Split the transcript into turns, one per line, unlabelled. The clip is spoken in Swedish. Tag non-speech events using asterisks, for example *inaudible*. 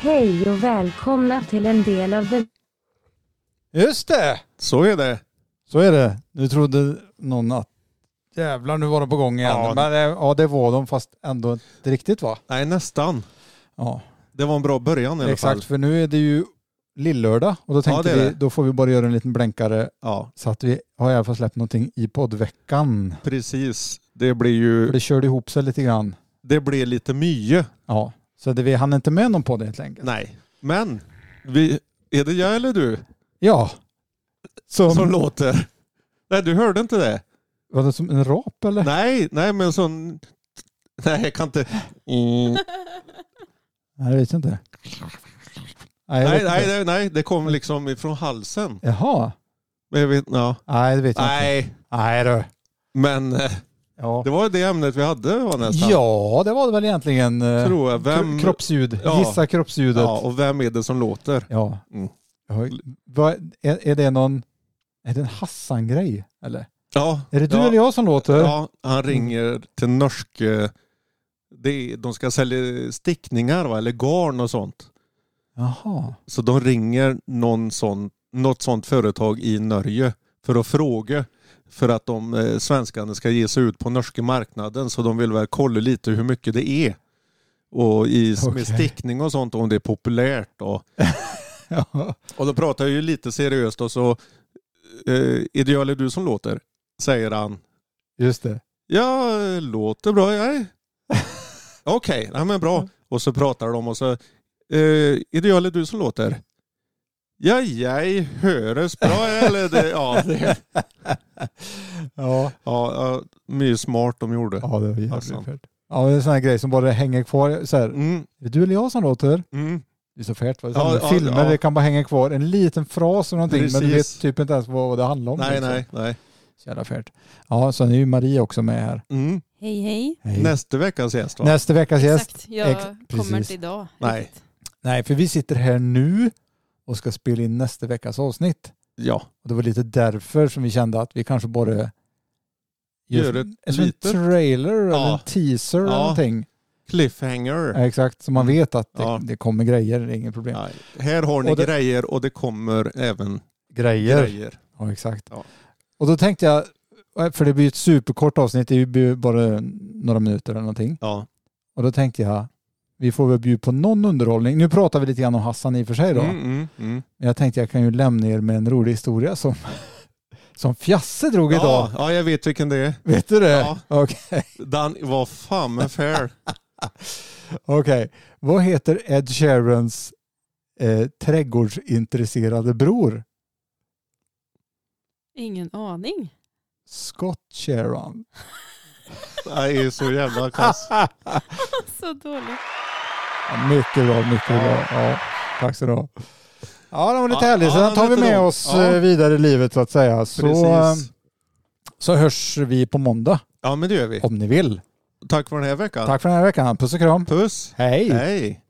Hej och välkomna till en del av den...
Just det!
Så är det.
Så är det. Nu trodde någon att jävlar nu var de på gång igen.
Ja.
Men eh, ja det var de fast ändå inte riktigt va?
Nej, nästan.
Ja
Det var en bra början i alla fall.
exakt för nu är det ju lillördag och då tänkte
det är
vi
det.
då får vi bara göra en liten blänkare
Ja,
så att vi har i alla fall släppt någonting i poddveckan.
precis. Det blir
För
ju
det körde ihop sig lite grann.
det blir lite mye.
Ja. Så det, vi hann inte med någon podd helt enkelt.
Nej, men vi, är det jag eller du
Ja. Som,
som låter? Nej, du hörde inte det?
var det som en rap eller?
Nej, nej men sån... Nej, jag kan inte... Mm.
Nej, jag vet inte. Nej, jag vet
Nej,
inte.
nej, nej, nej, det kom liksom ifrån halsen.
Jaha.
Men Jag vet, ja.
Nej, det vet jag inte.
Nej,
Nej du.
men eh,
Ja.
det var det ämnet vi hade var nästan.
ja, det var det väl egentligen. eh,
Tror jag. Vem...
kro- Kroppsljud.
Ja.
Gissa kroppsljudet.
Ja,
Ja.
och vem är det som låter? Mm.
Jag har- Vad, är, är det någon... Är det en Hassan-grej? Eller?
Ja,
Är det du
ja.
eller jag som låter?
Ja, han ringer till norske... det är- De ska sälja stickningar va? eller garn och sånt.
Jaha. *laughs*
Så de ringer någon sån, något sånt företag i Norge för att fråga för att de eh, svenskarna ska ge sig ut på norska marknaden så de vill väl kolla lite hur mycket det är. Och i,
Okej.
med stickning och sånt om det är populärt. Och,
Ja.
och då pratar jag ju lite seriöst och så eh, är det jag eller du som låter? Säger han.
Just det.
Ja, låter bra.
*laughs*
Jag... Okej, ja, men
Mm.
bra. Och så pratar de och så... Eh, är det jag eller du som låter? Ja, jag höres bra eller? Det,
*laughs*
ja, det,
Ja,
ja, ja, mycket smart de gjorde.
ja det var
Hassan.
jävligt fett. Ja, det är en sån här grej som bara hänger kvar. Så här,
Mm,
Är det du eller jag som låter?
mm.
Det är så fett. Va? Det är
Ja,
sådana
ja,
filmer,
ja.
det kan bara hänga kvar. En liten fras eller någonting, men du
Precis.
vet typ inte ens vad vad det handlar om.
Nej,
liksom.
nej, nej.
Så jävla fett. Ja, sen är ju Maria också med här.
Mm.
Hej hej.
Hej.
Nästa veckas gäst va?
Nästa veckas gäst.
Exakt, jag
Ex- precis.
kommer inte idag.
Nej.
riktigt.
Nej, för vi sitter här nu och ska spela in nästa veckas avsnitt.
Ja.
Och det var lite därför som vi kände att vi kanske bara
Gör
en,
ett
en
litet-
trailer eller
Ja.
en teaser eller
Ja.
någonting.
Cliffhanger.
Ja, exakt, så man vet att det,
Ja.
det kommer grejer, det är inget problem.
Nej. Här har ni
Och det-
grejer och det kommer även
Grejer.
grejer.
Ja, exakt.
Ja.
Och då tänkte jag, för det blir ju ett superkort avsnitt, det blir ju bara några minuter eller någonting.
Ja.
Och då tänkte jag, vi får väl bjuda på någon underhållning. Nu pratar vi lite grann om Hassan i och för sig då.
Mm, mm, mm.
Men jag tänkte jag kan ju lämna er med en rolig historia som, *laughs* som Fjasse drog idag.
Ja, ja, jag vet vilken det är.
Vet du det?
Ja.
Okej.
Den var fan men fair.
Okej. Vad heter Ed Sheerans eh, trädgårdsintresserade bror?
Ingen aning.
Scott Sheeran.
Nej, det är så jävla *laughs* kass.
Så dåligt.
Ja, Mycket bra, mycket bra. Ja, tack så du ha. Ja, det var lite
Ja,
härligt.
ja,
Sen tar vi
lite
med
då.
oss
Ja.
eh, vidare i livet så att säga. Så, eh,
Precis.
så hörs vi på måndag
Ja, men det gör vi.
om ni vill.
Tack för den här veckan.
Tack för den här veckan. Puss och kram.
Puss. Hej.